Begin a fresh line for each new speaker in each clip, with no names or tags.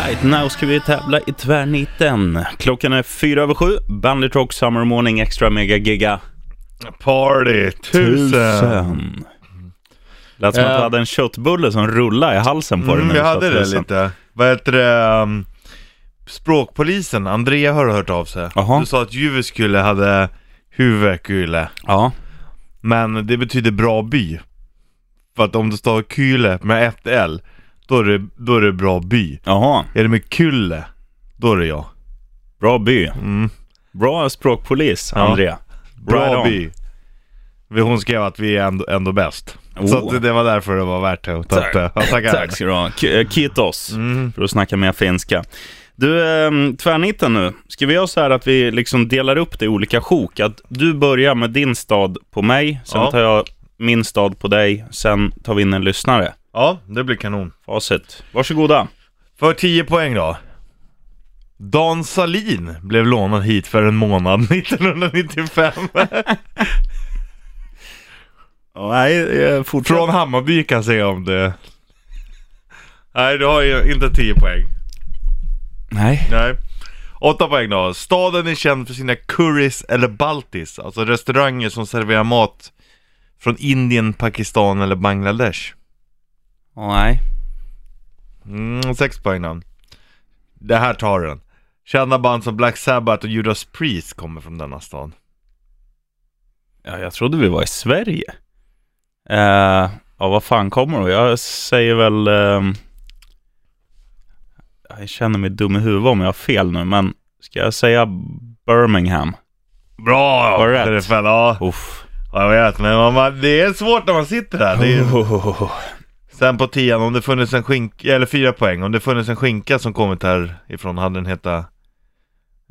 Alright, now ska vi tävla i tvärniten. Klockan är fyra över sju. Bandit Rock Summer Morning Extra Mega Giga
Party, tusen!
tusen. Lät som att
Eh.
du hade en köttbulle som rullade i halsen på dig
Mm,
när du
jag
sa
hade det
tusen.
lite. Vad heter det? um, Språkpolisen, Andrea har hört av sig.
Jaha.
Du sa att Jyväskylä hade huvudkyle.
Ja,
Men det betyder bra by. För att om du stavar kyle med ett L, då är, det, då är det bra by.
jaha.
Är det med kulle, då är det jag.
Bra by.
Mm.
Bra språkpolis,
Ja.
Andrea.
Bra
Right on.
by. Vi- Hon skrev att vi är ändå, ändå bäst. Så
Oh.
att det var därför det var värt det. att ta upp det. Ja, tackar.
Tack ska du ha. K- eh, Kiitos, för att snacka mer finska. Du, ehm, tvärnitten nu. Ska vi göra så här att vi liksom delar upp det i olika sjok? Att du börjar med din stad på mig, sen
Ja.
tar jag min stad på dig, sen tar vi in en lyssnare.
Ja, det blir kanon.
Facit. Varsågoda.
För 10 poäng då. Dan Salin blev lånad hit för en månad 1995.
Nej,
Från Hammarby kan jag säga om det. Nej, du har ju inte 10 poäng.
Nej.
Nej. 8 poäng då. Staden är känd för sina curries eller baltis, alltså restauranger som serverar mat från Indien, Pakistan eller Bangladesh.
Nej.
Mm, sex poäng då. Det här tar den. Kända band som Black Sabbath och Judas Priest kommer från denna stad.
Ja, jag trodde vi var i Sverige. Eh, ja, vad fan kommer då? Jag säger väl... ehm, jag känner mig dum i huvudet om jag har fel nu, men ska jag säga Birmingham?
Bra!
Var det rätt?
Det är fan, ja.
Uff.
ja, jag vet. Men man, man, det är svårt när man sitter där. Det är, Sen på tian, om det funnits en skinka, eller fyra poäng, om det funnits en skinka som kommit härifrån hade den hetat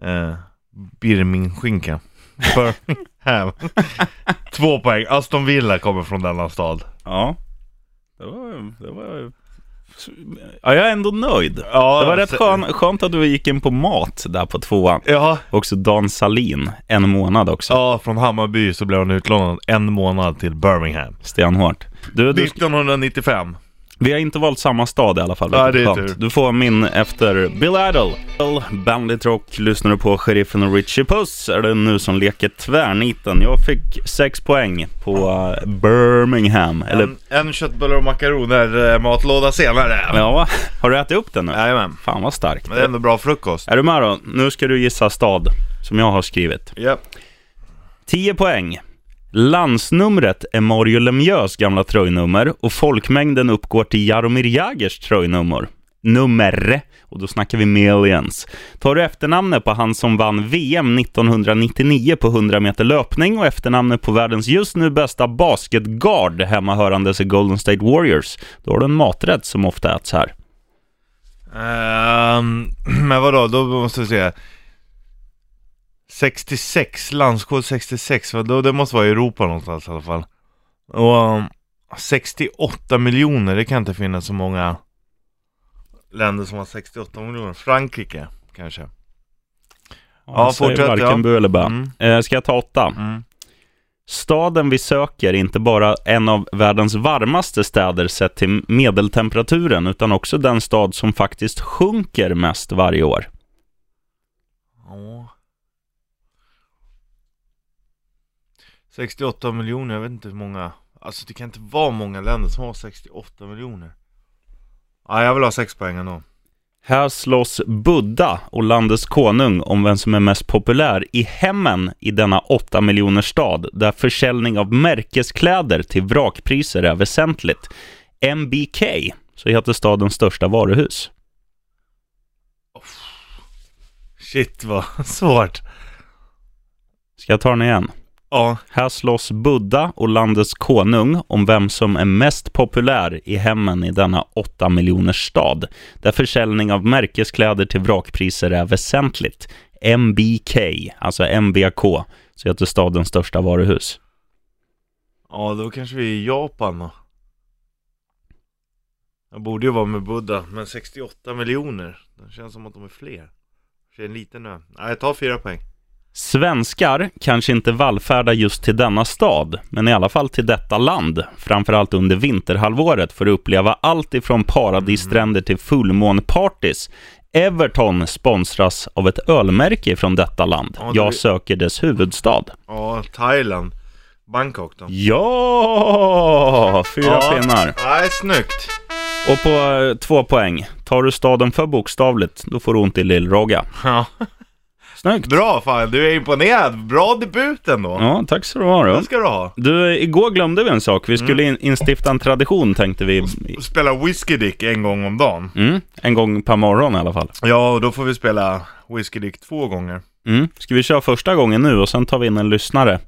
eh, Birmingskinka. Birmingham. Två poäng. Aston Villa kommer från denna stad.
Ja. Det var... Det var... Ja, jag är ändå nöjd.
Ja,
det var rätt
så-
skön, skönt att du gick in på mat där på tvåan.
Ja,
Också Dan Salin, en månad också.
ja från Hammarby så blev hon utlånad en månad till Birmingham.
Stenhårt. Du, du,
1995.
Vi har inte valt samma stad i alla fall.
Ja,
vilket
det är
skönt.
tur.
Du får min efter Bill Idol. Bandit Rock lyssnar du på Sheriffen och Richie Puss. Är det nu som leker tvärniten. Jag fick sex poäng på eh, Birmingham. Eller,
En, en köttbullar och makaroner eh, matlåda senare.
ja, har du ätit upp den nu?
Jajamän.
Fan vad starkt.
Men det är ändå bra frukost.
Är du med då? Nu ska du gissa stad som jag har skrivit.
Ja.
10 poäng. Landsnumret är Mario Lemieux gamla tröjnummer och folkmängden uppgår till Jaromir Jagers tröjnummer. Nummer. Och då snackar vi millions. Tar du efternamnet på han som vann VM 1999 på 100 meter löpning och efternamnet på världens just nu bästa basketguard hemmahörandes i Golden State Warriors, då har du en maträtt som ofta äts här.
Ehm, men vadå, då måste vi se. 66, landskod 66, vadå? det måste vara i Europa någonstans i alla fall. Och ehm, 68 miljoner, det kan inte finnas så många länder som har 68 miljoner. Frankrike kanske. Ja,
Jag säger
fortsätt,
Varken
ja.
bu eller bä.
Mm.
Eh, ska jag ta åtta?
Mm.
Staden vi söker är inte bara en av världens varmaste städer sett till medeltemperaturen, utan också den stad som faktiskt sjunker mest varje år.
Ja. 68 miljoner, jag vet inte hur många. Alltså det kan inte vara många länder som har 68 miljoner. Ja, jag vill ha sex poäng ändå.
Här slåss Buddha och landets konung om vem som är mest populär i hemmen i denna 8 miljoners stad, där försäljning av märkeskläder till vrakpriser är väsentligt. MBK, så heter stadens största varuhus.
Shit vad svårt.
Ska jag ta den igen?
Ja.
Här slåss Buddha och landets konung om vem som är mest populär i hemmen i denna 8 miljoners stad, där försäljning av märkeskläder till vrakpriser är väsentligt. MBK, alltså MBK, så heter stadens största varuhus.
Ja, då kanske vi är i Japan då. Jag borde ju vara med Buddha, men 68 miljoner. Det känns som att de är fler. Det är en liten ö. Nej, jag tar fyra poäng.
Svenskar kanske inte vallfärdar just till denna stad, men i alla fall till detta land, framförallt under vinterhalvåret, för att uppleva allt ifrån paradisstränder till fullmånpartys. Everton sponsras av ett ölmärke från detta land.
Ja, det-
Jag söker dess huvudstad.
Ja, Thailand. Bangkok då.
Ja! Fyra
Ja.
pinnar.
Nej, snyggt.
Och på eh, två poäng. Tar du staden för bokstavligt, då får du ont i lillrogga.
Ja.
Snyggt!
Bra fan, du är imponerad. Bra debut ändå.
Ja, tack så du ha då.
Den ska du ha.
Du, igår glömde vi en sak. Vi skulle
Mm.
in, instifta en tradition tänkte vi.
Spela Whiskey Dick en gång om dagen.
Mm, en gång per morgon i alla fall.
Ja, och då får vi spela Whiskey Dick två gånger.
Mm. Ska vi köra första gången nu och sen tar vi in en lyssnare?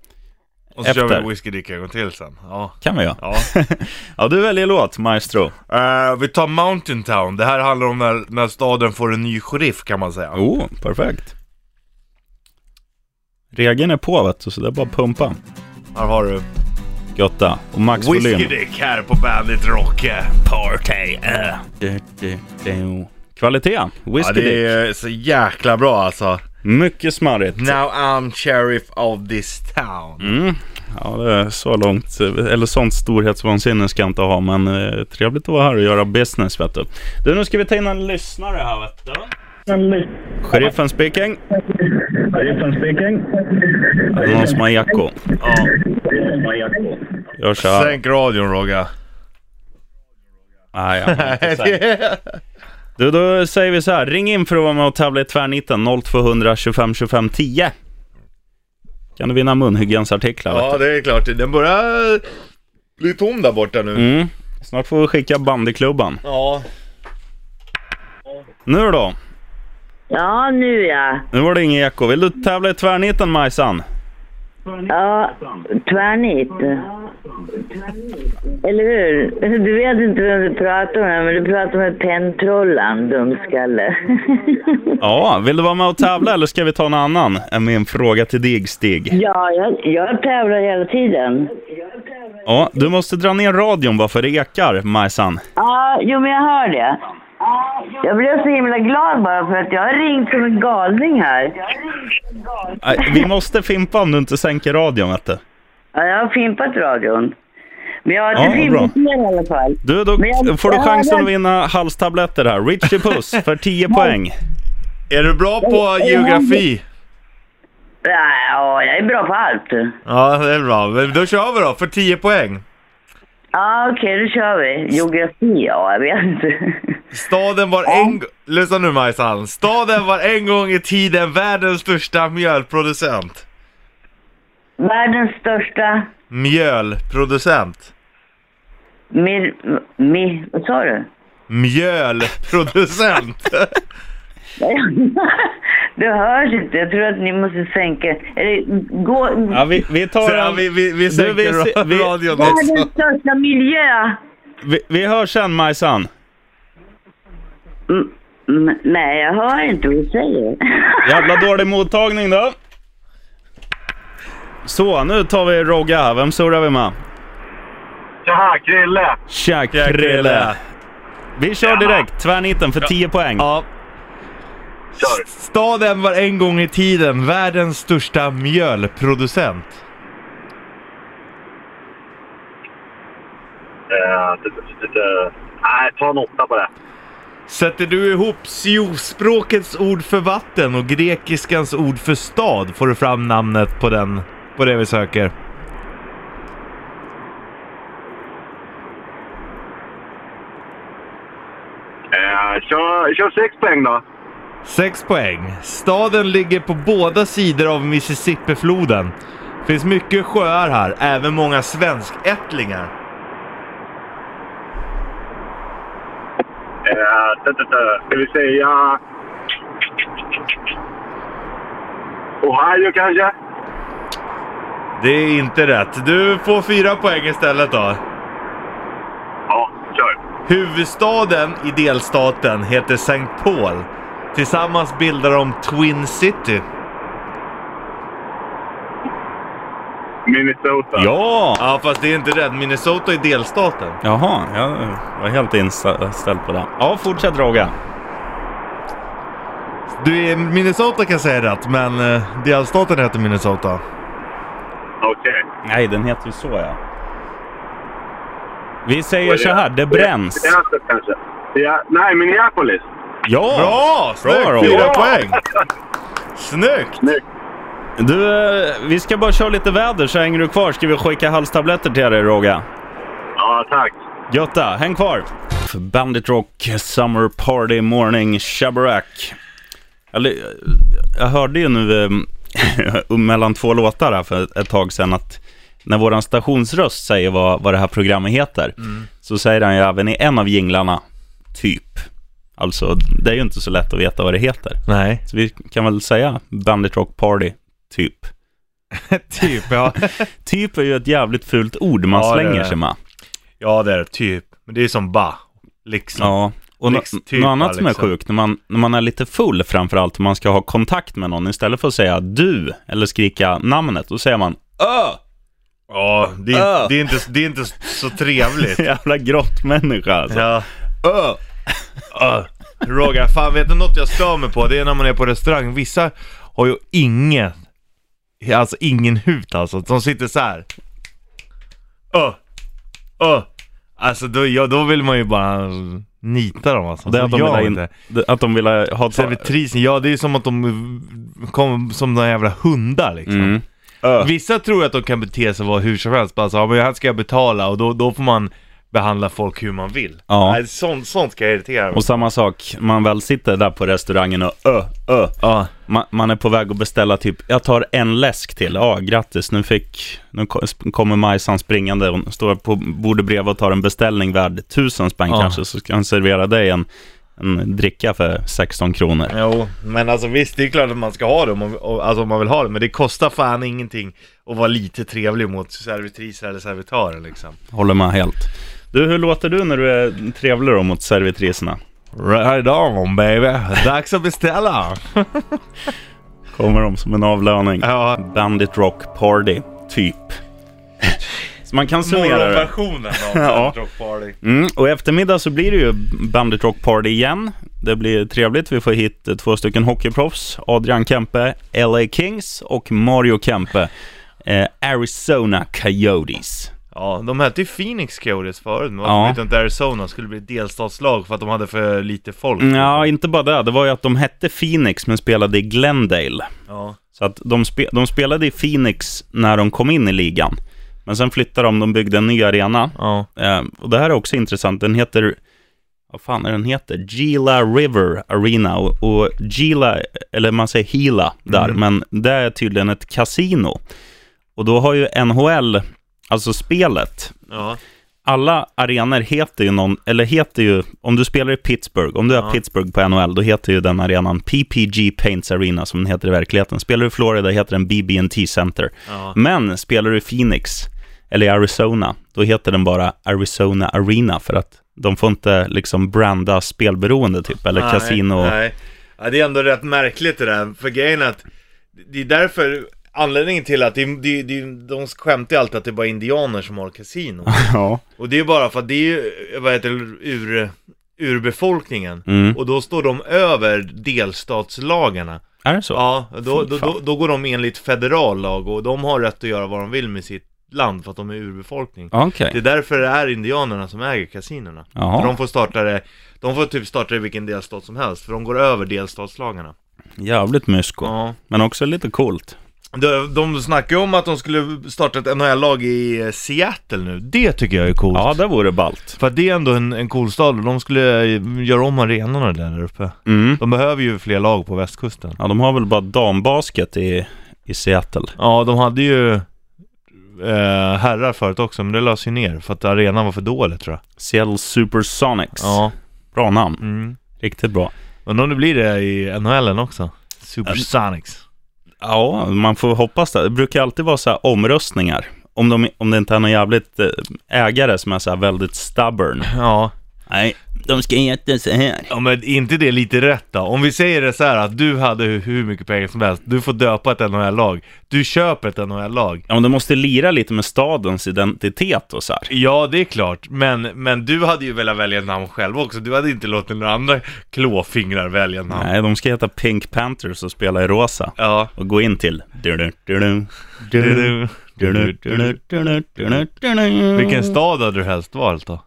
Och så kör
Efter.
vi Whiskey Dick en gång till sen. Ja.
Kan vi göra.
ja.
Ja, du väljer låt, maestro.
Eh, vi tar Mountain Town. Det här handlar om när, när staden får en ny sheriff kan man säga.
Oh, perfekt. Regeln är på vet du, så det är bara att pumpa.
Här har du
Götta. Och max
Whiskey
volym.
Dick här på Bandit Rock eh, Party. eh.
Du, du, du. Kvalitet.
Ja,
Whisky
det
Dick.
är så jäkla bra alltså.
Mycket smarrigt.
Now I'm sheriff of this town.
Mm. Ja, det är så långt. Eller sånt storhetsvansinne ska jag inte ha, men eh, trevligt att vara här och göra business, vet du. Du, nu ska vi ta in en lyssnare här, vet du. Sheriffen speaking.
Sheriffen speaking.
Är det någon som har eko?
Ja.
Gör så här.
Sänk radion Rogga.
Nej, jag kan inte säga. Du, då säger vi så här. Ring in för att vara med och tävla i tvärnitten 0200 25 25 10. Kan du vinna munhygiensartiklar, vet du.
Ja det är klart, den börjar bli tom där borta nu.
Mm. Snart får vi skicka bandyklubban.
Ja.
Nu då?
Ja, nu ja.
Nu var det ingen eko. Vill du tävla i tvärniten, Majsan?
Ja, tvärnit. Eller hur? Du vet inte vem du pratar med, men du pratar med penntrollan, dumskalle.
Ja, vill du vara med och tävla eller ska vi ta en annan? Är min fråga till dig, Stig.
Ja, jag, jag tävlar hela tiden.
Ja, du måste dra ner radion bara för det ekar, Majsan.
Ja, jo men jag hör det. Jag blev så himla glad bara för att jag har ringt som en galning här.
Nej, Vi måste fimpa om du inte sänker radion, vet du.
Ja, jag har fimpat radion. Men jag har
Ja,
inte fimpat
bra.
mer i alla fall.
Du, då
Men jag-
får du
jag
chansen
hörde-
att vinna halstabletter här. Richie Puss för 10 poäng.
Är du bra på
jag-
geografi?
Ja, ja, jag är bra på allt.
Ja det är bra, Men då kör vi då för 10 poäng.
Ja, okej, då kör vi. Geografi, ja, jag vet inte.
Staden var en... g- Lyssna nu Majsan. Staden var en gång i tiden världens största mjölproducent.
Världens största
Mjölproducent.
mir... Mi, vad sa du?
Mjölproducent.
Det hörs inte. Jag tror att ni måste sänka... Eller gå...
Ja, vi, vi tar
Så, ja, vi,
en...
vi, vi sänker
vi se- vi-
radion också.
Världens största miljö!
Vi, vi hörs sen, Majsan.
Mm, mm, nej, jag hör inte vad du säger.
Jävla dålig mottagning då. Så, nu tar vi Rogga här. Vem surrar vi med?
Tja, Krille!
Tja, Krille. Vi kör direkt. Tvärniten för 10 poäng.
Ja.
Kör.
Staden var en gång i tiden världens största mjölproducent.
Eh, det- det- det- Nej, ta en åtta på det.
Sätter du ihop siospråkets ord för vatten och grekiskans ord för stad får du fram namnet på den, på det vi söker.
Eh, kör, kör sex poäng då.
Sex poäng. Staden ligger på båda sidor av Mississippifloden. Finns mycket sjöar här, även många svenskättlingar.
Eh, det- det- det- Ska vi säga... Ohio kanske?
Det är inte rätt. Du får fyra poäng istället då.
Ja, kör.
Huvudstaden i delstaten heter St. Paul. Tillsammans bildar de Twin City.
Minnesota.
Ja!
Ja, fast det är inte rätt. Minnesota är delstaten.
Jaha, jag var helt inställd på det. Ja, fortsätt Roga.
Du, är- Minnesota kan säga rätt, men eh, delstaten heter Minnesota.
Okej.
Nej, den heter ju så ja. Vi säger
Vad är
så här, det bränns.
Minneapolis kanske? Ja, nej, Minneapolis.
Ja!
Bra!
Bra,
Snyggt!
Robin.
Fyra poäng! Snyggt!
Du, eh, vi ska bara köra lite väder så hänger du kvar ska vi skicka halstabletter till dig Roga.
Ja, tack.
Götta, häng kvar! Bandit Rock Summer Party Morning Shabarak. Eller, eh, jag hörde ju nu eh, mellan två låtar här för ett- ett tag sedan att när våran stationsröst säger vad, vad det här programmet heter
Mm.
så säger han ju även i en av jinglarna, typ. Alltså, det är ju inte så lätt att veta vad det heter.
Nej.
Så vi kan väl säga Bandit Rock Party, typ.
typ, ja.
Typ är ju ett jävligt fult ord man
Ja, det är
slänger
det.
sig med.
ja, det är det, typ. Men det är som ba. Liksom.
Ja. Och nå-
Liksom typ,
något annat som är
liksom.
sjukt, när man, när man är lite full framförallt och man ska ha kontakt med någon, istället för att säga du eller skrika namnet, då säger man ö!
Ja, det är,
Öh.
det är, inte, det är inte så trevligt.
Jävla grottmänniska alltså.
ja.
Ö!
Öh. Roger, fan vet du något jag stör mig på? Det är när man är på restaurang. Vissa har ju ingen, alltså ingen hut alltså. De sitter så här. Öh. Öh. Alltså då, ja, då vill man ju bara nita dem alltså.
Det är att de,
Så
vill
gör
ha
man
in,
inte.
det- att de vill ha ha-
Servitrisen, ja det är som att de kommer som några jävla hundar liksom.
Mm. Ö.
Vissa tror att de kan bete sig vad hur som helst, bara så, ja, men här ska jag betala och då, då får man behandla folk hur man vill.
Ja.
Nej, sånt, sånt kan jag irritera mig
Och samma sak, man väl sitter där på restaurangen och ö, ö.
Ja.
Man, man är på väg att beställa typ, jag tar en läsk till. Ja, grattis. Nu, fick, nu ko- sp- kommer Majsan springande. Hon står på bordet bredvid och tar en beställning värd tusen spänn
Ja.
kanske. Så ska hon servera dig en, en dricka för 16 kronor.
Jo, men alltså visst det är klart att man ska ha det om man, och- alltså, om man vill ha det, men det kostar fan ingenting att vara lite trevlig mot servitriser eller servitörer liksom.
Håller med helt. Du, hur låter du när du är trevlig då mot servitriserna?
Right on baby, dags att beställa!
Kommer de som en avlöning?
Ja,
Bandit Rock Party, typ. Så man kan summera det.
morgonversionen
Ja.
av Rock Party.
Mm, och i eftermiddag så blir det ju Bandit Rock Party igen. Det blir trevligt. Vi får hit eh, två stycken hockeyproffs. Adrian Kempe, LA Kings och Mario Kempe, eh, Arizona Coyotes.
Ja, de hette ju Phoenix Coyotes förut, men varför
Ja.
vet inte Arizona skulle bli ett delstatslag för att de hade för lite folk?
Mm, Ja, inte bara det. Det var ju att de hette Phoenix men spelade i Glendale.
Ja.
Så att de, spe- de spelade i Phoenix när de kom in i ligan. Men sen flyttade de, de byggde en ny arena.
Ja.
Eh, och det här är också intressant. Den heter, vad fan är den heter? Gila River Arena. Och, och Gila, eller man säger Hila där, men det är tydligen ett kasino. Och då har ju NHL, alltså spelet,
Ja.
alla arenor heter ju någon, eller heter ju, om du spelar i Pittsburgh, om du är Pittsburgh på NHL, då heter ju den arenan PPG Paints Arena som den heter i verkligheten. Spelar du i Florida heter den BB&T Center.
Ja.
Men spelar du i Phoenix eller i Arizona, då heter den bara Arizona Arena för att de får inte liksom branda spelberoende typ, eller
Nej,
kasino.
Nej. Ja, det är ändå rätt märkligt det där, för grejen är att det är därför Anledningen till att det, det, det, de skämtar ju alltid att det är bara indianer som har kasino.
Ja.
Och det är ju bara för att det är ju, vad heter det, ur, urbefolkningen.
Mm.
Och då står de över delstatslagarna.
Är det så?
Ja, då, då,
fan.
då, då går de enligt federal lag och de har rätt att göra vad de vill med sitt land för att de är urbefolkning.
Okej.
Det är därför det är indianerna som äger kasinerna.
Jaha.
För De får starta det, de får typ starta det i vilken delstat som helst, för de går över delstatslagarna.
Jävligt mysko.
Ja.
Men också lite coolt.
De, de snackar ju om att de skulle starta ett NHL-lag i eh, Seattle nu, det tycker jag är coolt.
Ja, det vore ballt.
För att det är ändå en, en cool stad och de skulle eh, göra om arenorna där uppe.
Mm.
De behöver ju fler lag på västkusten.
Ja, de har väl bara dambasket i, i Seattle.
Ja, de hade ju eh, herrar förut också, men det lades ju ner för att arenan var för dålig tror jag.
Seattle Supersonics.
Ja.
Bra namn.
Mm.
Riktigt bra.
Undrar om det blir det i NHL också? Supersonics.
Ja, man får hoppas det. Det brukar alltid vara så här omröstningar. Om, de, om det inte är någon jävligt eh, ägare som är så här väldigt stubborn.
Ja.
Nej, de ska heta så här.
ja, men är inte det lite rätt då? Om vi säger det så här att du hade hur, hur mycket pengar som helst, du får döpa ett NHL-lag, du köper ett NHL-lag.
Ja, men de måste lira lite med stadens identitet och så här.
Ja, det är klart, men, men du hade ju velat välja namn själv också, du hade inte låtit några andra klåfingrar välja namn.
Nej, de ska heta Pink Panthers och spela i rosa.
Ja.
Och gå in till... Vilken Mm.
Vilken stad hade du helst valt då?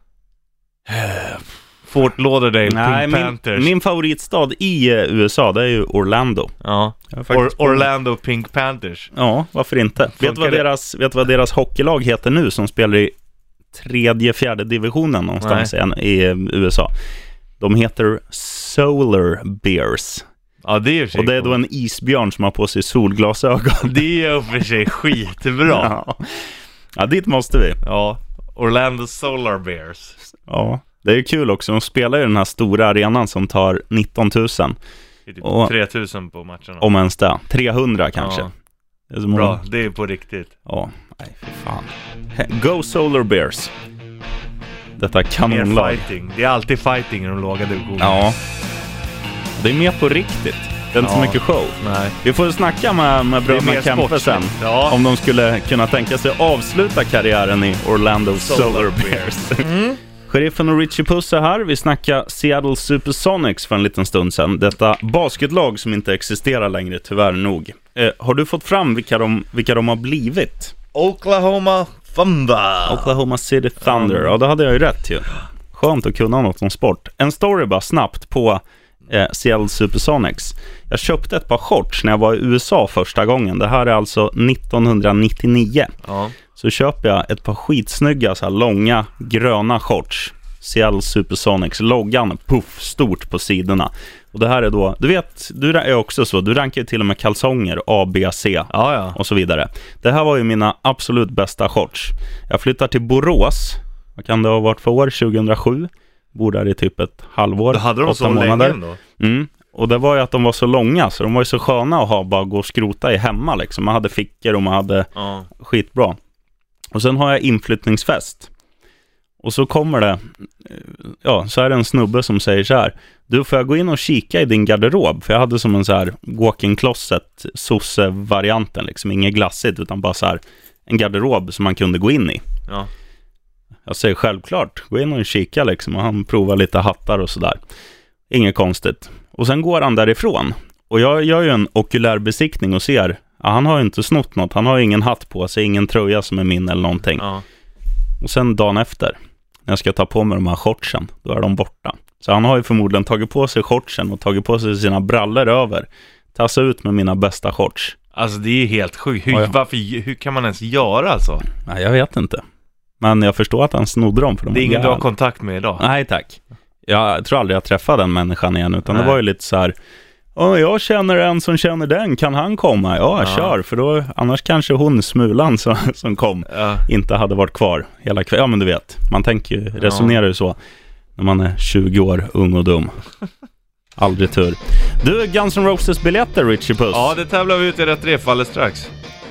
Fort Lauderdale,
Nej,
Pink
min,
Panthers.
min favoritstad i eh, USA, det är ju Orlando.
Ja. Or,
faktiskt-
Orlando Pink Panthers.
Ja, varför inte? Vet du vad
det?
deras, vet du vad deras hockeylag heter nu som spelar i tredje, fjärde divisionen någonstans igen i eh, USA? De heter Solar Bears.
Ja det är ju för sig
Och det är då en isbjörn som har på sig solglasögon.
Det är ju för sig skitbra.
Ja, ja dit måste vi.
Ja. Orlando Solar Bears.
Ja, det är ju kul också. De spelar ju den här stora arenan som tar 19 000,
Det är typ
Och-
3000 på matcherna.
om ens det. 300 kanske.
Ja.
Det är så många.
Bra, det är på riktigt.
Ja, nej för fan. Go Solar Bears. Detta
Mer
kanonlag.
fighting. Det är alltid fighting i de låga divisionerna.
Ja. Mm. Det är mer på riktigt. Det är inte så
Ja.
mycket show.
Nej.
Vi får snacka med, med
Det är
bröderna
mer
Kempe
sportsligt.
sen.
Ja.
Om de skulle kunna tänka sig att avsluta karriären i Orlando Solar,
Solar Mm.
Bears. Sheriffen och Richie Puss är här. Vi snackade Seattle Supersonics för en liten stund sedan. Detta basketlag som inte existerar längre, tyvärr nog. Eh, har du fått fram vilka de, vilka de har blivit?
Oklahoma Thunder.
Oklahoma City Thunder. Ja, det hade jag ju rätt ju. Skönt att kunna något om sport. En story bara snabbt på eh, Seattle Supersonics. Jag köpte ett par shorts när jag var i USA första gången. Det här är alltså 1999.
Ja.
Så köper jag ett par skitsnygga så här långa gröna shorts. Seattle Supersonics, loggan puff stort på sidorna. Och det här är då, du vet, du är också så, du rankar ju till och med kalsonger A, B, C
Ja, ja.
och så vidare. Det här var ju mina absolut bästa shorts. Jag flyttar till Borås, vad kan det ha varit för år? 2007. Bor där i typ ett halvår,
Då hade de
åtta
så länge
månader.
ändå.
Mm. Och det var ju att de var så långa, så de var ju så sköna att ha bara gå och skrota i hemma liksom. Man hade fickor och man hade
Ja.
skitbra. Och sen har jag inflyttningsfest. Och så kommer det, eh, ja, så är det en snubbe som säger så här. Du, får jag gå in och kika i din garderob? För jag hade som en så här walk-in closet, sosse-varianten liksom. Inget glassigt, utan bara så här en garderob som man kunde gå in i.
Ja.
Jag säger självklart, gå in och kika liksom. Och han provar lite hattar och sådär. Inget konstigt. Och sen går han därifrån. Och jag gör ju en okulärbesiktning och ser, ja, han har ju inte snott något. Han har ju ingen hatt på sig, ingen tröja som är min eller någonting.
ja.
Och sen dagen efter, när jag ska ta på mig de här shortsen, då är de borta. Så han har ju förmodligen tagit på sig shortsen och tagit på sig sina brallor över. Tassat ut med mina bästa shorts.
Alltså det är ju helt sjukt. Hur,
Ja, ja.
Varför, hur kan man ens göra alltså? så?
Nej, jag vet inte. Men jag förstår att han snodde dem för de
Det är
var
ingen du har
jävla-
kontakt med idag.
Nej tack. Jag tror aldrig jag träffade den människan igen, utan det
Nej.
var ju lite så här, "Ja, jag känner en som känner den, kan han komma? Ja,
Ja.
kör, för då, annars kanske hon, Smulan, som, som kom,
Ja.
inte hade varit kvar hela kvällen. Ja, men du vet, man tänker ju, resonerar ju så, när man är 20 år, ung och dum. Aldrig tur. Du, Guns N' Roses-biljetter, Richie Puss.
ja, det tävlar vi ut i Rätt Ref alldeles strax.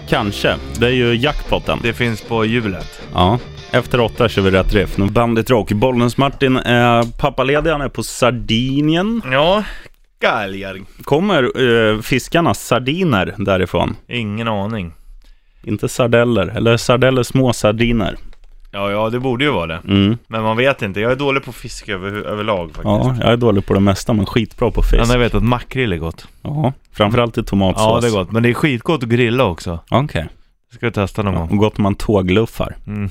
Kanske. Det är ju jackpotten.
Det finns på hjulet.
Ja, efter åtta kör vi rätt riff. Nu Bandit Rock. Bollnäs Martin är pappaledig, han är på Sardinien.
Ja, galgar.
Kommer eh, fiskarnas sardiner därifrån?
Ingen aning.
Inte sardeller, eller sardeller små sardiner.
Ja, ja, det borde ju vara det.
Mm.
Men man vet inte. Jag är dålig på fisk över, överlag faktiskt.
Ja, jag är dålig på det mesta men skitbra på fisk.
Men jag vet att makrill är gott.
Ja, framförallt i tomatsås.
Ja, det är gott. Men det är skitgott att grilla också.
Ja, Okej.
Det ska du testa någon gång.
Och gott om man tågluffar.
Mm.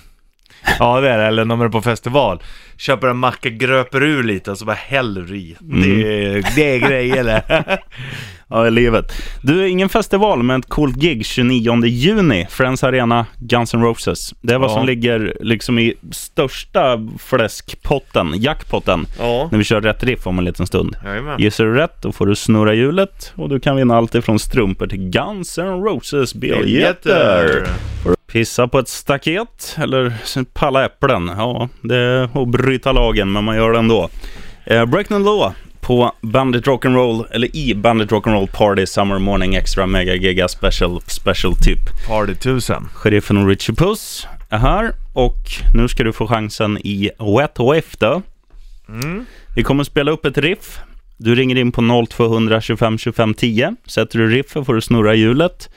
Ja, det är det. Eller när man är på festival. Köper en macka, gröper ur lite och så bara häller du i. Det, är- det är grejer det.
Ja, i livet. Du, ingen festival men ett coolt gig 29 juni. Friends Arena, Guns N' Roses. Det är vad
Ja.
som ligger liksom i största fläskpotten, jackpotten.
Ja.
När vi kör rätt riff om en liten stund.
Jajamän.
Gissar du rätt, då får du snurra hjulet och du kan vinna allt ifrån strumpor till Guns N' Roses biljetter. Pissa på ett staket eller palla äpplen. Ja, det är att bryta lagen, men man gör det ändå. Eh, Breakdown Law på Bandit Rock'n'Roll, eller i Bandit Rock'n'Roll Party Summer Morning Extra Mega Giga Special, Special Typ.
Party 1000.
Sheriffen och Richie Puss är här och nu ska du få chansen i Wet Wift då. Vi kommer spela upp ett riff. Du ringer in på 0200 25 25 10. Sätter du riffet får du snurra hjulet.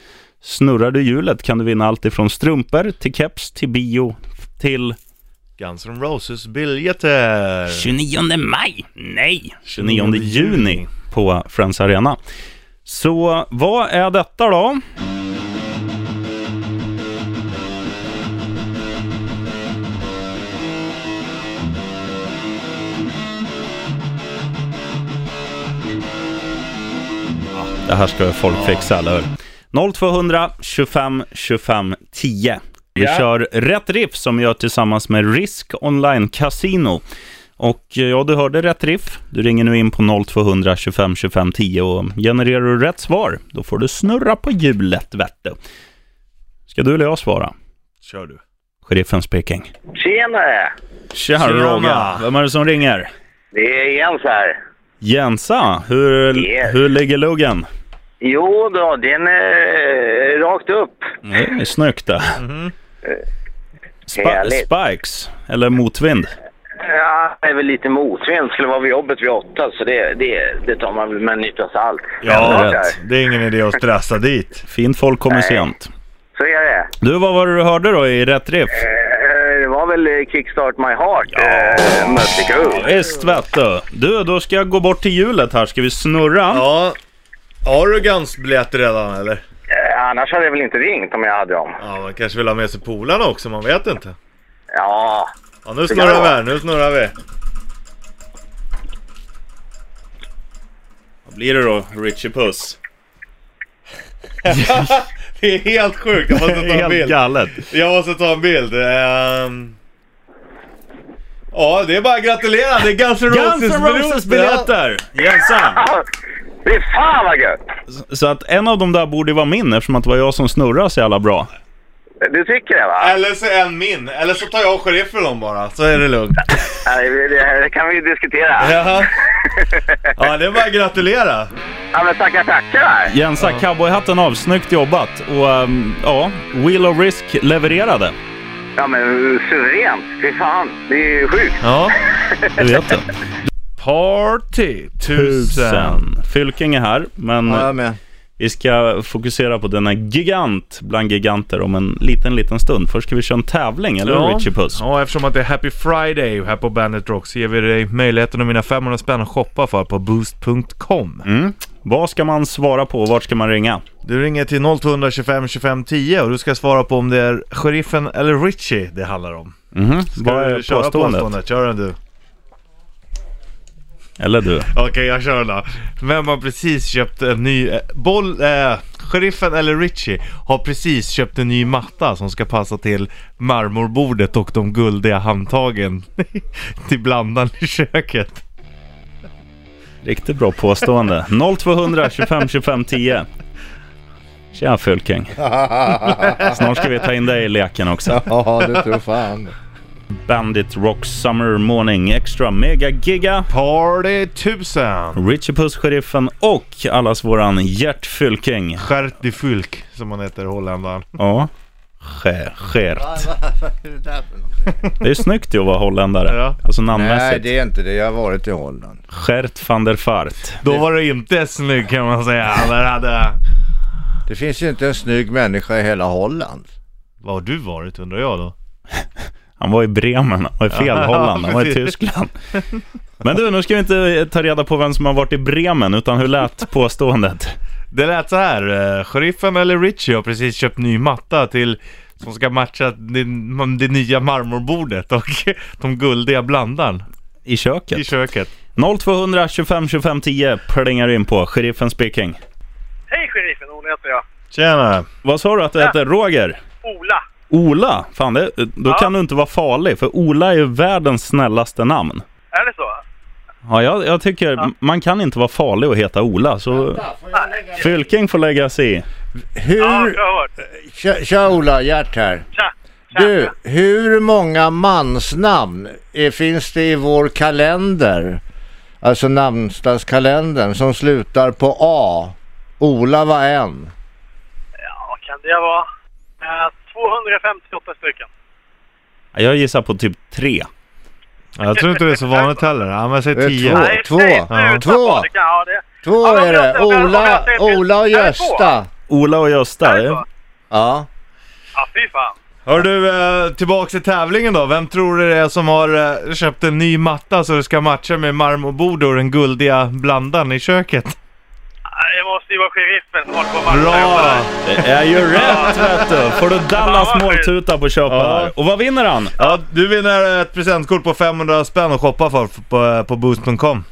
Snurrar du hjulet kan du vinna allt ifrån strumpor till keps till bio till
Guns N' Roses biljetter.
29 maj. Nej, 29 juni på Friends Arena. Så vad är detta då? Det här ska folk fixa, eller hur? 0200 25 25 10. Vi
Ja.
kör Rätt Riff som vi gör tillsammans med Risk Online Casino. Och eh, ja, du hörde Rätt Riff. Du ringer nu in på 0200 25 25 10 och genererar du rätt svar, då får du snurra på hjulet, vet du. Ska du eller jag svara?
Kör du.
Sheriffen speaking.
Tjenare!
Tja,
Tjena.
Roger. Vem är det som ringer?
Det är Jens här.
Jensa, hur,
Yes.
hur ligger luggen?
Jo då, den är rakt upp.
Det är snyggt det. Spa-
Mm-hmm. Härligt.
spikes, eller motvind.
Ja, det är väl lite motvind. Skulle vara vid jobbet vid åtta, så det, det, det tar man väl med en nypa salt.
Ja,
Självklart
rätt.
här.
Det är ingen idé att stressa dit.
Fint folk kommer
Nej.
sent.
Så är det.
Du, vad var det du hörde då i rätt riff?
Eh, Det var väl eh, Kickstart My Heart, ja. Mötley Crüe.
Visst vet du. Du, då ska jag gå bort till hjulet här. Ska vi snurra?
Ja. Har du Guns-biljett redan eller?
Eh, Annars hade jag väl inte ringt om jag hade dem.
Ja, man kanske vill ha med sig polarna också, man vet inte.
Ja,
Ja, nu
Det kan
snurrar vi
vara.
här, nu snurrar vi.
Vad blir det då, Richie Puss?
Det är helt sjukt, jag måste ta en
Helt
bild.
galet.
Jag måste ta en bild. Ehm, Ja, det är bara att gratulera. Det är Guns N'
Guns N'
Roses-biljetten.
Roses-biljetter! Jensa!
det är fan vad gött!
Så att en av dem där borde ju vara min eftersom att det var jag som snurrade så jävla bra.
Du tycker det va?
Eller så en min. Eller så tar jag sheriffen dem bara, så är det lugnt.
Nej, Det det här kan vi ju diskutera.
Jaha. Ja, det är bara att gratulera.
Ja men tackar tackar där.
Jensa, cowboyhatten av. Snyggt jobbat. Och ehm, ja, Wheel of Risk levererade.
Ja men suveränt. Fy fan, det är ju sjukt.
Ja.
Det vet du.
Party tusen.
Tusen. Fylking är här, men
med.
vi ska fokusera på denna gigant bland giganter om en liten, liten stund. Först ska vi köra en tävling, eller hur Richie Puss?
Ja, eftersom att det är Happy Friday här på Bandit Rock så ger vi dig möjligheten att vinna 500 spänn att shoppa för på boost.com.
Mm. Vad ska man svara på och vart ska man ringa?
Du ringer till 0225 25 10 och du ska svara på om det är sheriffen eller Richie det handlar om.
Mhm.
Ska
Vad
du
är
köra
påståendet?
Kör den du.
Eller du?
Okej, jag kör den då. Vem har precis köpt en ny... Eh, boll... Eh, sheriffen eller Richie har precis köpt en ny matta som ska passa till marmorbordet och de guldiga handtagen till blandaren i köket.
Riktigt bra påstående. 0200 25 25 10. Tja Fylking. Snart ska vi ta in dig i leken också.
Ja, det tror fan.
Bandit Rock Summer Morning Extra Mega Giga.
Party tusen!
Richie Puss, Sheriffen och allas våran Gert Fylking.
Gert de Fylk, som han heter, holländaren.
Ja. Ger- Gert.
Vad är det där för någonting?
Det är snyggt ju att vara holländare.
Ja.
Alltså
Nej,
namnmässigt.
det är inte det. Jag har varit i Holland.
Gert van der Fart.
Då var det inte snygg kan man säga. Där hade...
Det finns ju inte en snygg människa i hela Holland.
Vad har du varit undrar jag då?
Han var i Bremen, han var i fel
Ja,
Holland, han var i
precis.
Tyskland. Men du, nu ska vi inte ta reda på vem som har varit i Bremen, utan hur lät påståendet?
Det lät så här. eh, Sheriffen eller Richie har precis köpt ny matta till som ska matcha det, det nya marmorbordet och de guldiga blandaren
I köket?
i köket.
0200 25 25 10 plingar du in på. Sheriffen speaking.
Hej sheriffen, Ola heter jag.
Tjena!
Vad sa du att du heter? Roger?
Ola.
Ola? Fan, det, då kan du inte vara farlig, för Ola är ju världens snällaste namn.
Är det så?
Ja, jag, jag tycker man kan inte vara farlig och heta Ola, så... Fylking får lägga sig i.
Ja,
Hur...
jag har hört.
Tja, tja Ola, Gert här.
Tja. Tja.
Du, hur många mansnamn eh, finns det i vår kalender? Alltså namnsdagskalendern som slutar på A. Ola var en.
Ja, kan det vara? Eh, 258 stycken.
Jag gissar på typ tre.
Ja, Jag tror inte det är så vanligt heller. Ja, men säg
Det är
tio.
två.
Nej, nej,
Ja.
sluta
Två.
på, det kan- Ja, det.
Två
Ja, men
är
jag
det.
ser- jag ser-
Ola,
jag ser-
Ola och
Är det
Gösta.
Ola och Gösta.
Är det
det-
så?
Ja.
Ja, fy fan.
Hör du, eh, tillbaks till tävlingen då. Vem tror du det är som har eh, köpt en ny matta så det ska matcha med marmorbordet och den guldiga blandaren i köket?
Nej, Det måste ju vara sheriffen som håller på med
Bra!
Det är ju rätt vet du! Får du Dallas måltuta på köpet
Ja.
här. Och vad vinner han?
Ja, du vinner ett presentkort på 500 eh, spänn att shoppa för på, på boost.com.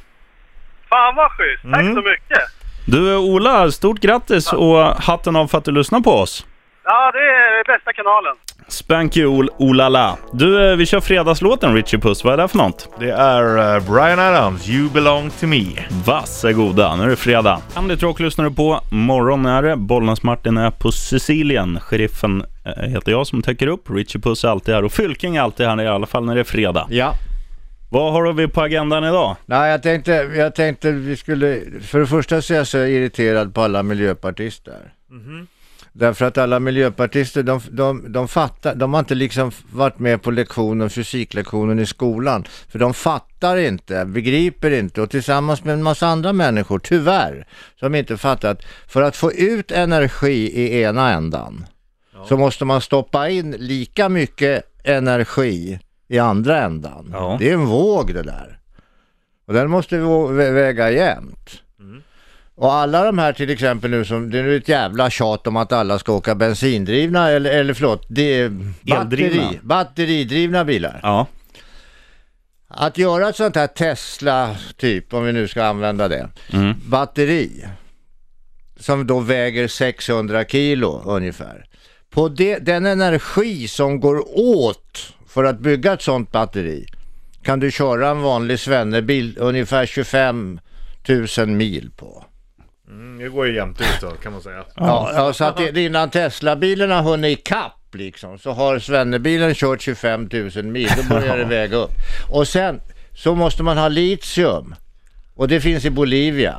Fan vad schysst. Tack
Mm.
så mycket.
Du Ola, stort grattis och hatten av för att du lyssnar på oss.
Ja, det är bästa kanalen.
Spank you Ol- Olala. Du, eh, vi kör fredagslåten Richie Puss. Vad är det för något?
Det är eh, Brian Adams, You belong to me.
Varsågoda, nu är det fredag. Andit Rock lyssnar du på. Morgon är det. Bollnäs-Martin är på Sicilien. Sheriffen eh, heter jag som täcker upp. Richie Puss är alltid här och Fylking är alltid här i alla fall när det är fredag.
Ja.
Vad har vi på agendan idag?
Nej, jag tänkte, jag tänkte vi skulle... För det första så är jag så irriterad på alla miljöpartister. Därför att alla miljöpartister, de, de, de fattar, de har inte liksom varit med på lektionen, fysiklektionen i skolan. För de fattar inte, begriper inte och tillsammans med en massa andra människor, tyvärr, som inte fattat. För att få ut energi i ena ändan så måste man stoppa in lika mycket energi i andra ändan.
Ja.
Det är en våg det där. Och den måste vi vå- vä- väga jämnt. Och alla de här till exempel nu som, det är nu ett jävla tjat om att alla ska åka bensindrivna eller, eller förlåt, det är
Eldrivna.
batteri, batteridrivna bilar.
Ja.
Att göra ett sånt här Tesla typ, om vi nu ska använda det,
Mm.
batteri som då väger 600 kilo ungefär. På det, den energi som går åt för att bygga ett sånt batteri kan du köra en vanlig svennebil ungefär 25 000 mil på.
Mm, det går ju jämnt ut då, kan man säga.
Ja, ja så att det- innan Tesla-bilen har hunnit ikapp liksom, så har svennebilen kört 25 000 mil, då börjar det väga upp. Och sen så måste man ha litium. Och det finns i Bolivia,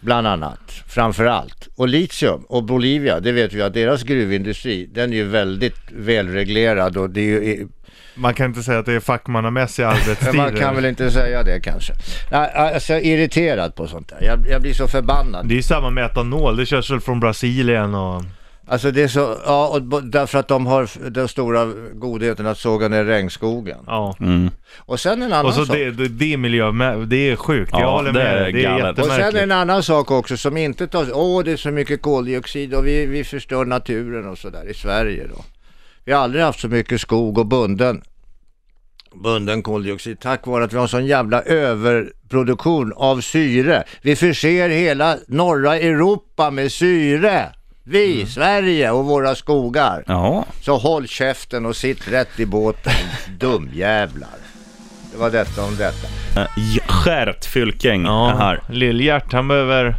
bland annat, framför allt. Och litium och Bolivia, det vet vi att deras gruvindustri, den är ju väldigt välreglerad och det är ju
Man kan inte säga att det är fackmannamässiga arbetstider.
men man kan väl inte säga det kanske. Nej, alltså jag är irriterad på sånt där. Jag, jag blir så förbannad.
Det är ju samma med etanol, det körs väl från Brasilien och...
Alltså det är så, ja, och bo- därför att de har f- den stora godheten att såga ner regnskogen.
Ja.
Och sen en annan
Och så
sak.
det, det, det är miljö, det är sjukt,
Ja,
jag håller
det
med
är
dig. Det är
galet.
och sen
jättemärkligt.
en annan sak också som inte tas, åh det är så mycket koldioxid och vi, vi förstör naturen och sådär i Sverige då. Vi har aldrig haft så mycket skog och bunden, bunden koldioxid tack vare att vi har sån jävla överproduktion av syre. Vi förser hela norra Europa med syre. Vi,
Mm.
Sverige och våra skogar.
Ja.
Så håll käften och sitt rätt i båten, dumjävlar. Det var detta om detta.
Eh, j- Skärt Fylking är
Ja,
här.
Lill-Gert han behöver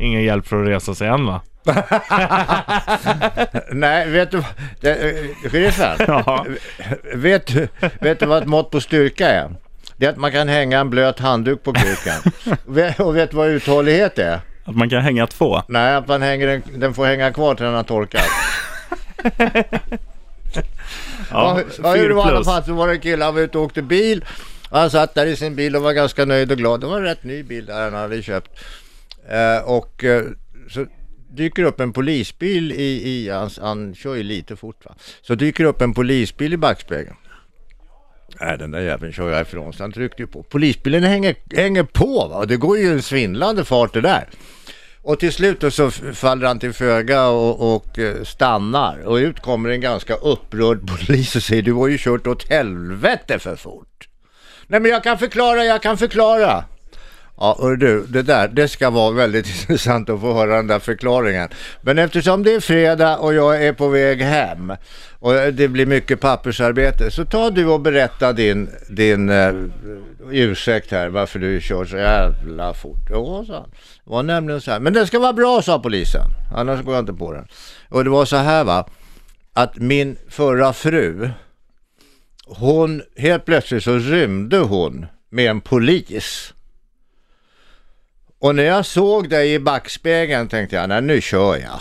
ingen hjälp för att resa sig än va?
Nej, vet du det, eh, Sheriffen,
Ja.
vet, du- vet du vad ett mått på styrka är? Det är att man kan hänga en blöt handduk på kuken. Ve- Och vet du vad uthållighet är?
Att man kan hänga två.
Nej, att man hänger den, den får hänga kvar till den har torkat. Ja, jag gjorde det var i alla fall så var det en kille, han var ute och åkte bil. Och han satt där i sin bil och var ganska nöjd och glad. Det var en rätt ny bil där han hade köpt. Eh, och eh, så dyker upp en polisbil i, i han, han kör ju lite fort va. Så dyker upp en polisbil i backspegeln. Nej, den där jäveln kör jag ifrån, så han tryckte ju på. Polisbilen hänger, hänger på va, och det går ju en svindlande fart det där. Och till slut då så f- faller han till föga och, och eh, stannar. Och ut kommer en ganska upprörd polis och säger du har ju kört åt helvete för fort. Nej men jag kan förklara, jag kan förklara. Ja, och du, det där, det ska vara väldigt intressant att få höra den där förklaringen. Men eftersom det är fredag och jag är på väg hem och det blir mycket pappersarbete, så ta du och berätta din, din eh, ursäkt här, varför du kör så jävla fort. Ja, sa han. Det var nämligen så här. Men den ska vara bra, sa polisen. Annars går jag inte på den. Och det var så här va, att min förra fru, hon, helt plötsligt så rymde hon med en polis. Och när jag såg dig i backspegeln tänkte jag, nej nu kör jag.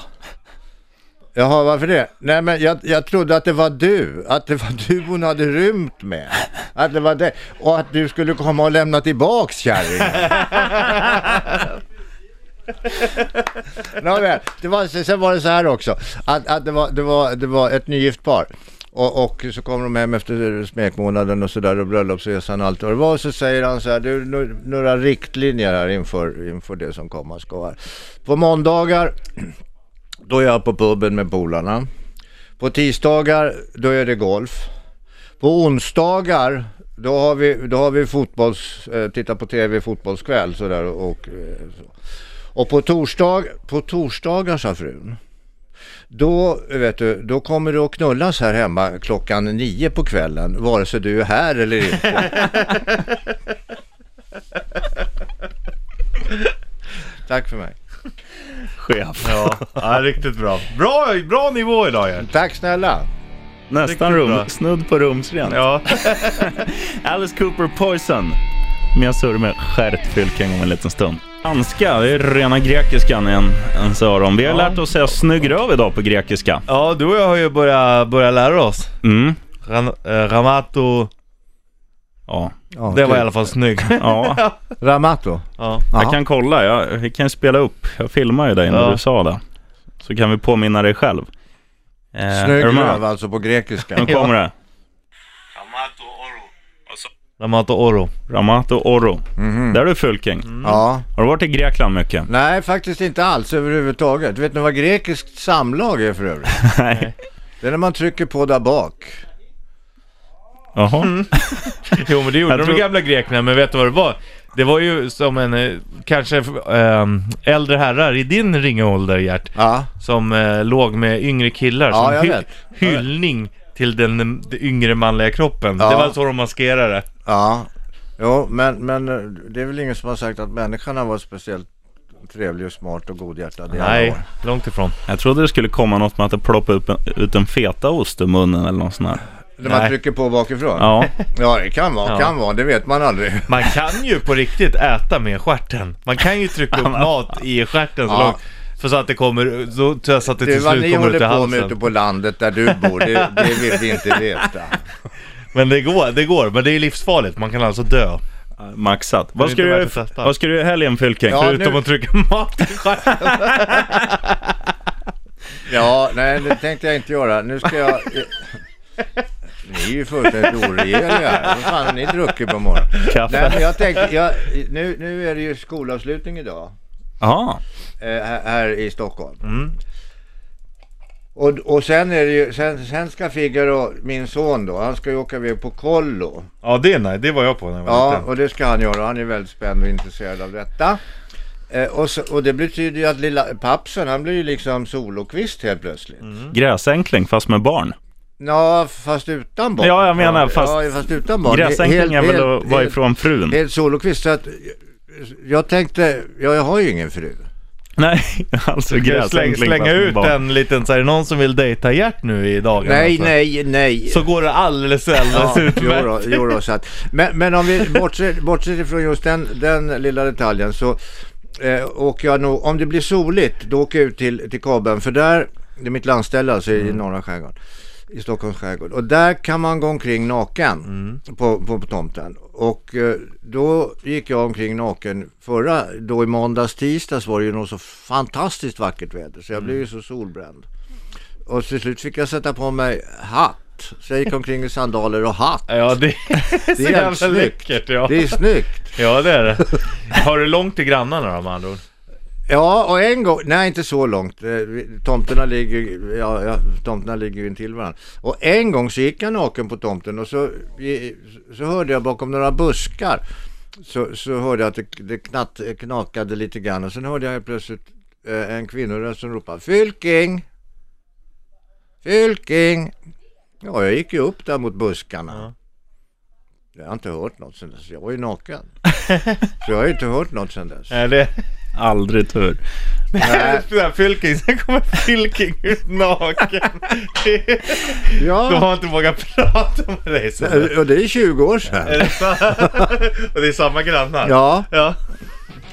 Jaha, varför det? Nej men jag, jag trodde att det var du, att det var du hon hade rymt med. Att det var det. Och att du skulle komma och lämna tillbaks kärringen. Nåväl, det var, sen var det så här också, att, att det, var, det, var, det var ett nygift par. Och, och så kommer de hem efter smekmånaden och sådär och bröllopsresan och allt vad det var. Och så säger han så här, du, nu- några riktlinjer här inför, inför det som komma ska här. På måndagar, då är jag på puben med polarna. På tisdagar, då är det golf. På onsdagar, då har vi, då har vi fotbolls, eh, titta på tv fotbollskväll sådär och eh, så. Och på, torsdag, på torsdagar, sa frun, då, vet du, då kommer du att knullas här hemma klockan nio på kvällen, vare sig du är här eller inte. Tack för mig.
chef.
Ja, ja riktigt bra. Bra, bra nivå idag Gert.
Tack snälla.
Nästan
Riktigt
rum,
bra.
snudd på rumsrent.
Ja.
Alice Cooper Poison. Men jag surrar med skärt fylking om en liten stund. Danska, det är rena grekiskan igen, ens öron. Vi har lärt oss säga snygg röv idag på grekiska.
ja, du och jag har ju börjat, börjat lära oss.
Mm.
Ran, eh, Ramato,
Ja.
Ja,
det var
kul.
i alla fall snygg.
ja.
Ramato.
Ja.
Ja.
Jag kan kolla, jag, vi kan spela upp. Jag filmar ju dig när
Ja.
du sa det. Så kan vi påminna dig själv. Eh,
Snygg
är du med?
röv alltså på grekiska.
Nu kommer det.
Ramato Oro.
Ramato Oro.
Mhm. Mm.
Där är du fylking.
Ja.
Har du varit i Grekland mycket?
Nej, faktiskt inte alls överhuvudtaget. Vet ni vad grekiskt samlag är för övrigt?
Nej.
Det är när man trycker på där bak.
Jaha.
Mm.
Jo men det
Jag
gjorde de
tror-
gamla grekerna, men vet du vad det var? Det var ju som en, eh, kanske eh, äldre herrar i din ringa ålder Gert,
Ja,
som eh, låg med yngre killar
Ja, jag
som
vet.
hyllning till den, den yngre manliga kroppen.
Ja.
Det var så de maskerade.
ja. Jo, men, men eh, det är väl ingen som har sagt att människan har varit speciellt trevlig och smart och godhjärtad i alla
Nej,
år.
långt ifrån.
Jag trodde det skulle komma något med att det ploppade upp en, ut en fetaost ur munnen eller något sånt där.
När man
Nej.
trycker på bakifrån? Ja,
Ja,
det kan vara,
Ja.
kan vara, det vet man aldrig.
Man kan ju på riktigt äta med stjärten. Man kan ju trycka upp mat i stjärten så
Ja.
långt. För så att det kommer, så, så att det
Det är
till
vad ni
slut kommer ut i
håller på med ute
halsen.
på landet där du bor, det, det vill vi inte veta.
Men det går, det går. Men det är livsfarligt. Man kan alltså dö.
maxat. Vad ska,
inte
du,
värt
göra i-
att testa.
vad ska du göra i helgen Fylking?
Ja,
Förutom-
Förutom
nu-
att trycka mat i stjärten.
Ja, nej det tänkte jag inte göra. Nu ska jag... Ni är ju fullständigt oregeliga. Vad fan har ni druckit på morgonen?
Kaffe.
Nej, men jag tänkte, jag, nu, nu är det ju skolavslutning idag
Jaha.
eh, här, här i Stockholm.
Mm.
Och, och sen är det ju, sen, sen ska Figaro, min son då, han ska ju åka iväg på kollo.
Ja det är nej, det var jag på när jag var
Ja,
liten.
och det ska han göra. Han är väldigt spänd och intresserad av detta. Eh, och, så, och det betyder ju att lilla pappsen, han blir ju liksom solokvist helt plötsligt.
Mm.
Mm.
Gräsänkling fast med barn.
Ja, fast utan barn.
Ja, jag menar, fast-
ja, fast utan barn.
Gräsänkling är väl att vara ifrån frun?
Helt solokvist, så att jag tänkte, ja, jag har ju ingen fru.
Nej, alltså
Ska jag släng,
gräsänkling
slänga
fast med
ut
barn.
en liten, så är det någon som vill dejta Gert nu i dagarna?
Nej,
så,
nej, nej.
Så går det alldeles
Ja,
alldeles
jo
utmärkt.
då, jo då, så att, men, men om vi bortser, bortser ifrån just den, den lilla detaljen så eh, åker jag nog, om det blir soligt, då åker jag ut till, till Kabeln för där, det är mitt landställe alltså i norra skärgården, i Stockholms skärgård. Och där kan man gå omkring naken på, på, på tomten. Och eh, då gick jag omkring naken förra, då i måndags, tisdags var det ju något så fantastiskt vackert väder så jag blev ju så solbränd. Och till slut fick jag sätta på mig hatt. Så jag gick omkring i sandaler och hatt.
Ja det är så
Det är
jävla
jävligt snyggt.
läckert ja.
Det är snyggt.
Ja det är det. Har du långt till grannarna då med andra ord?
Ja, och en gång, nej inte så långt. Eh, vi- Tomterna ligger, ju- ja, ja, tomterna ligger ju intill varandra. Och en gång så gick jag naken på tomten och så, så hörde jag bakom några buskar så, så hörde jag att det, det knatt, knakade lite grann och sen hörde jag helt plötsligt eh, en kvinnoröst som ropade Fylking! Fylking! Ja, jag gick ju upp där mot buskarna. Jag har inte hört något sen dess. Jag var ju naken. så jag har ju inte hört något sen dess.
Eh,
Nej det
Aldrig tur.
Nej.
är... Fylking, sen kommer Fylking ut naken.
Ja.
De har inte vågat prata med dig sen.
Eh, Och det är 20 år
Är
sedan.
det så? Och det är samma grannar?
Ja.
ja.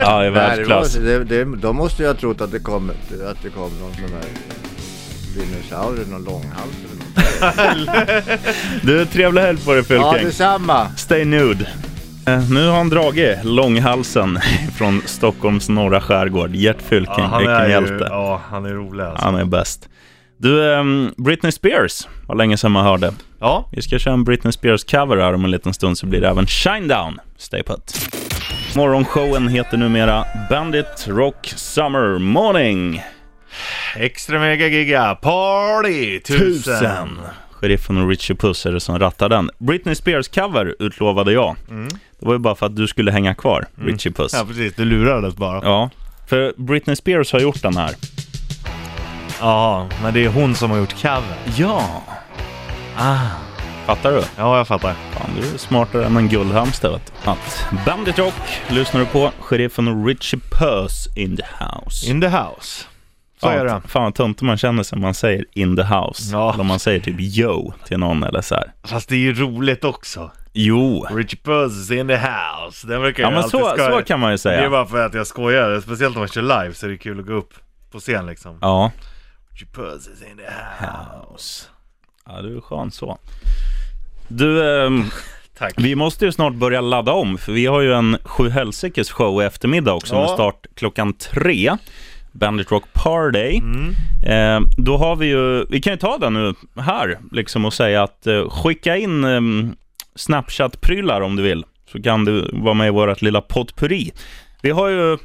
Ja, i
Nej, det
världsklass.
var, det, det, de måste ju ha trott att det kom, att det kom någon sån här dinosaurie, någon långhals eller något.
Du, trevlig helg på dig
Ja,
Fylking.
detsamma.
Stay nude. Eh, Nu har han dragit långhalsen från Stockholms norra skärgård. Gert Fylking, vilken hjälte.
ja, han är rolig alltså.
Han är bäst. Du, ehm, Britney Spears var länge sedan man hörde.
Ja,
Vi ska köra en Britney Spears-cover här om en liten stund så blir det även Shine Down. Stay put. Morgonshowen heter numera Bandit Rock Summer Morning
extra mega giga party tusen.
1000. Sheriffen och Richie Puss är det som rattar den. Britney Spears-cover utlovade jag. Det var ju bara för att du skulle hänga kvar, Richie Puss.
Ja precis, du lurades bara.
Ja, För Britney Spears har gjort den här.
Ja, men det är hon som har gjort cover.
Ja. Fattar du?
Ja, jag fattar.
Fan, du är smartare än en guldhamster vet du. Att Bandit Rock lyssnar du på. Sheriffen Richie Puss in the house.
In the house. Så
fan,
är det.
Fan vad töntig man känner sig om man säger in the house.
Ja.
Eller om man säger typ yo till någon eller så här.
Fast det är ju roligt också.
Jo.
Richie Puss in the house. Den brukar
Ja
jag
men
alltid
så,
skoja.
så kan man ju
Det är
säga.
bara för att jag skojar. Speciellt om man kör live så är det kul att gå upp på scen liksom.
Ja.
Richie Puss is in the house.
Ja, du är skön så. Du, ehm,
Tack.
vi måste ju snart börja ladda om, för vi har ju en sju helsikes show i eftermiddag också
Ja.
med start klockan tre. Bandit Rock Party. Eh, då har vi ju, vi kan ju ta den nu här liksom och säga att eh, skicka in ehm, Snapchat-prylar om du vill, så kan du vara med i vårt lilla potpurri. Vi har ju,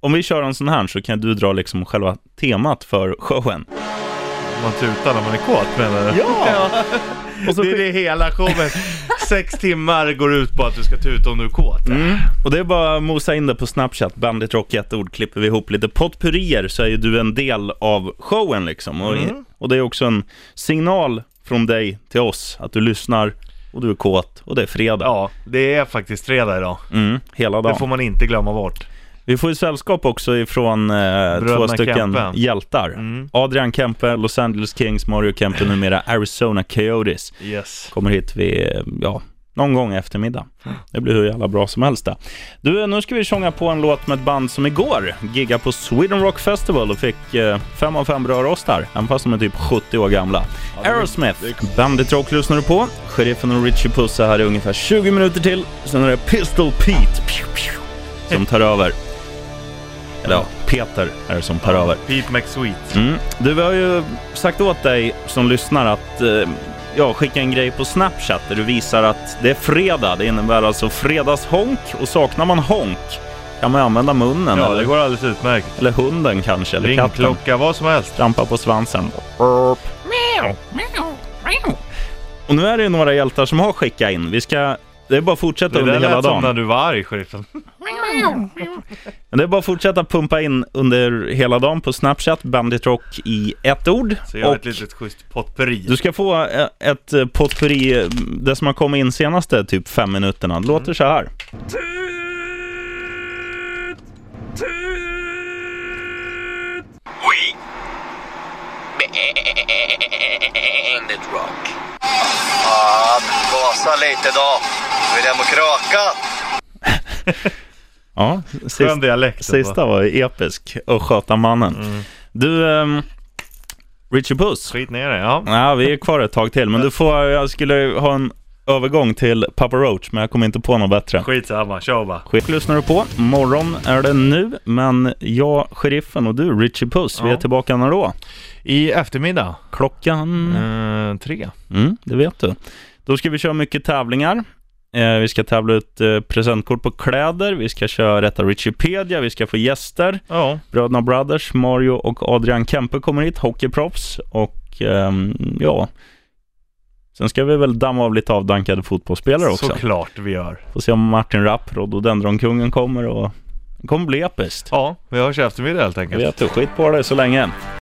om vi kör en sån här så kan du dra liksom själva temat för showen.
Man tutar när man är kåt menar du?
Ja! Och så
Det är det hela showen. Sex timmar går ut på att du ska tuta om du är kåt.
Och det är bara att mosa in det på Snapchat, Bandit Rock i ett ord, klipper vi ihop lite potpurrier så är ju du en del av showen liksom. Och,
Mm.
och det är också en signal från dig till oss att du lyssnar och du är kåt och det är fredag.
Ja, det är faktiskt fredag idag.
Mm, hela
Det
dagen.
får man inte glömma bort.
Vi får ju sällskap också ifrån eh, två stycken
Kempe.
hjältar.
Mm.
Adrian Kempe, Los Angeles Kings, Mario Kempe, numera Arizona Coyotes.
Yes.
kommer hit vid, ja, någon gång i eftermiddag. Det blir hur jävla bra som helst det. Du, nu ska vi sjunga på en låt med ett band som igår giggade på Sweden Rock Festival och fick eh, fem av fem brödrostar, även fast de är typ 70 år gamla. Aerosmith, Bandit Rock lyssnar du på. Sheriffen och Richie Pussa här i ungefär 20 minuter till. Sen är det Pistol Pete pew, pew, som tar över. Eller ja, Peter är det som tar över.
Pete McSweet.
Mm. Du, vi har ju sagt åt dig som lyssnar att eh, ja, skicka en grej på Snapchat där du visar att det är fredag. Det innebär alltså fredagshonk och saknar man honk kan man använda munnen
Ja, det
eller,
går alldeles utmärkt.
eller hunden kanske, eller katten.
Ringklocka, vad som helst.
Trampa på svansen. Meow, meow, meow. Och nu är det ju några hjältar som har skickat in. Vi ska... Det är bara att fortsätta
Det
under
där
hela
lät som när
dagen.
du var arg, sheriffen.
Det är bara att fortsätta pumpa in under hela dagen på Snapchat, Bandit Rock i ett ord.
Så jag har
Och-
ett litet schysst potpurri.
Du ska få eh, ett eh, potpurri, eh, det som har kommit in senaste typ fem minuterna. Det
Mm.
låter så här.
Bandit Rock.
Ah, Gasa lite då. Vi demokraka.
Ja,
Skön
sist,
dialekt. alltså. Mm.
sista var ju episk. Och sköta mannen. Du, ehm, Richie Puss.
Skit ner det, ja.
Ja, vi är kvar ett tag till, men du får, jag skulle ha en övergång till Papa Roach, men jag kommer inte på något bättre.
Skitsamma, kör bara.
Skit lyssnar du på. Morgon är det nu, men jag, Sheriffen och du, Richie Puss, vi är
Ja.
tillbaka när då?
I eftermiddag,
Klockan?
eh, tre.
Mm, det vet du. Då ska vi köra mycket tävlingar. Eh, vi ska tävla ut eh, presentkort på kläder, vi ska köra Rätta Richipedia, vi ska få gäster.
Ja,
Bröderna Brothers, Mario och Adrian Kempe kommer hit, hockeyproffs. Och ehm, ja, sen ska vi väl damma av lite avdankade fotbollsspelare också.
såklart vi gör.
Får se om Martin Rapp, Rhododendronkungen kommer och det kommer bli episkt.
Ja, vi hörs i eftermiddag helt
Jag
enkelt.
vet du, skit på det så länge.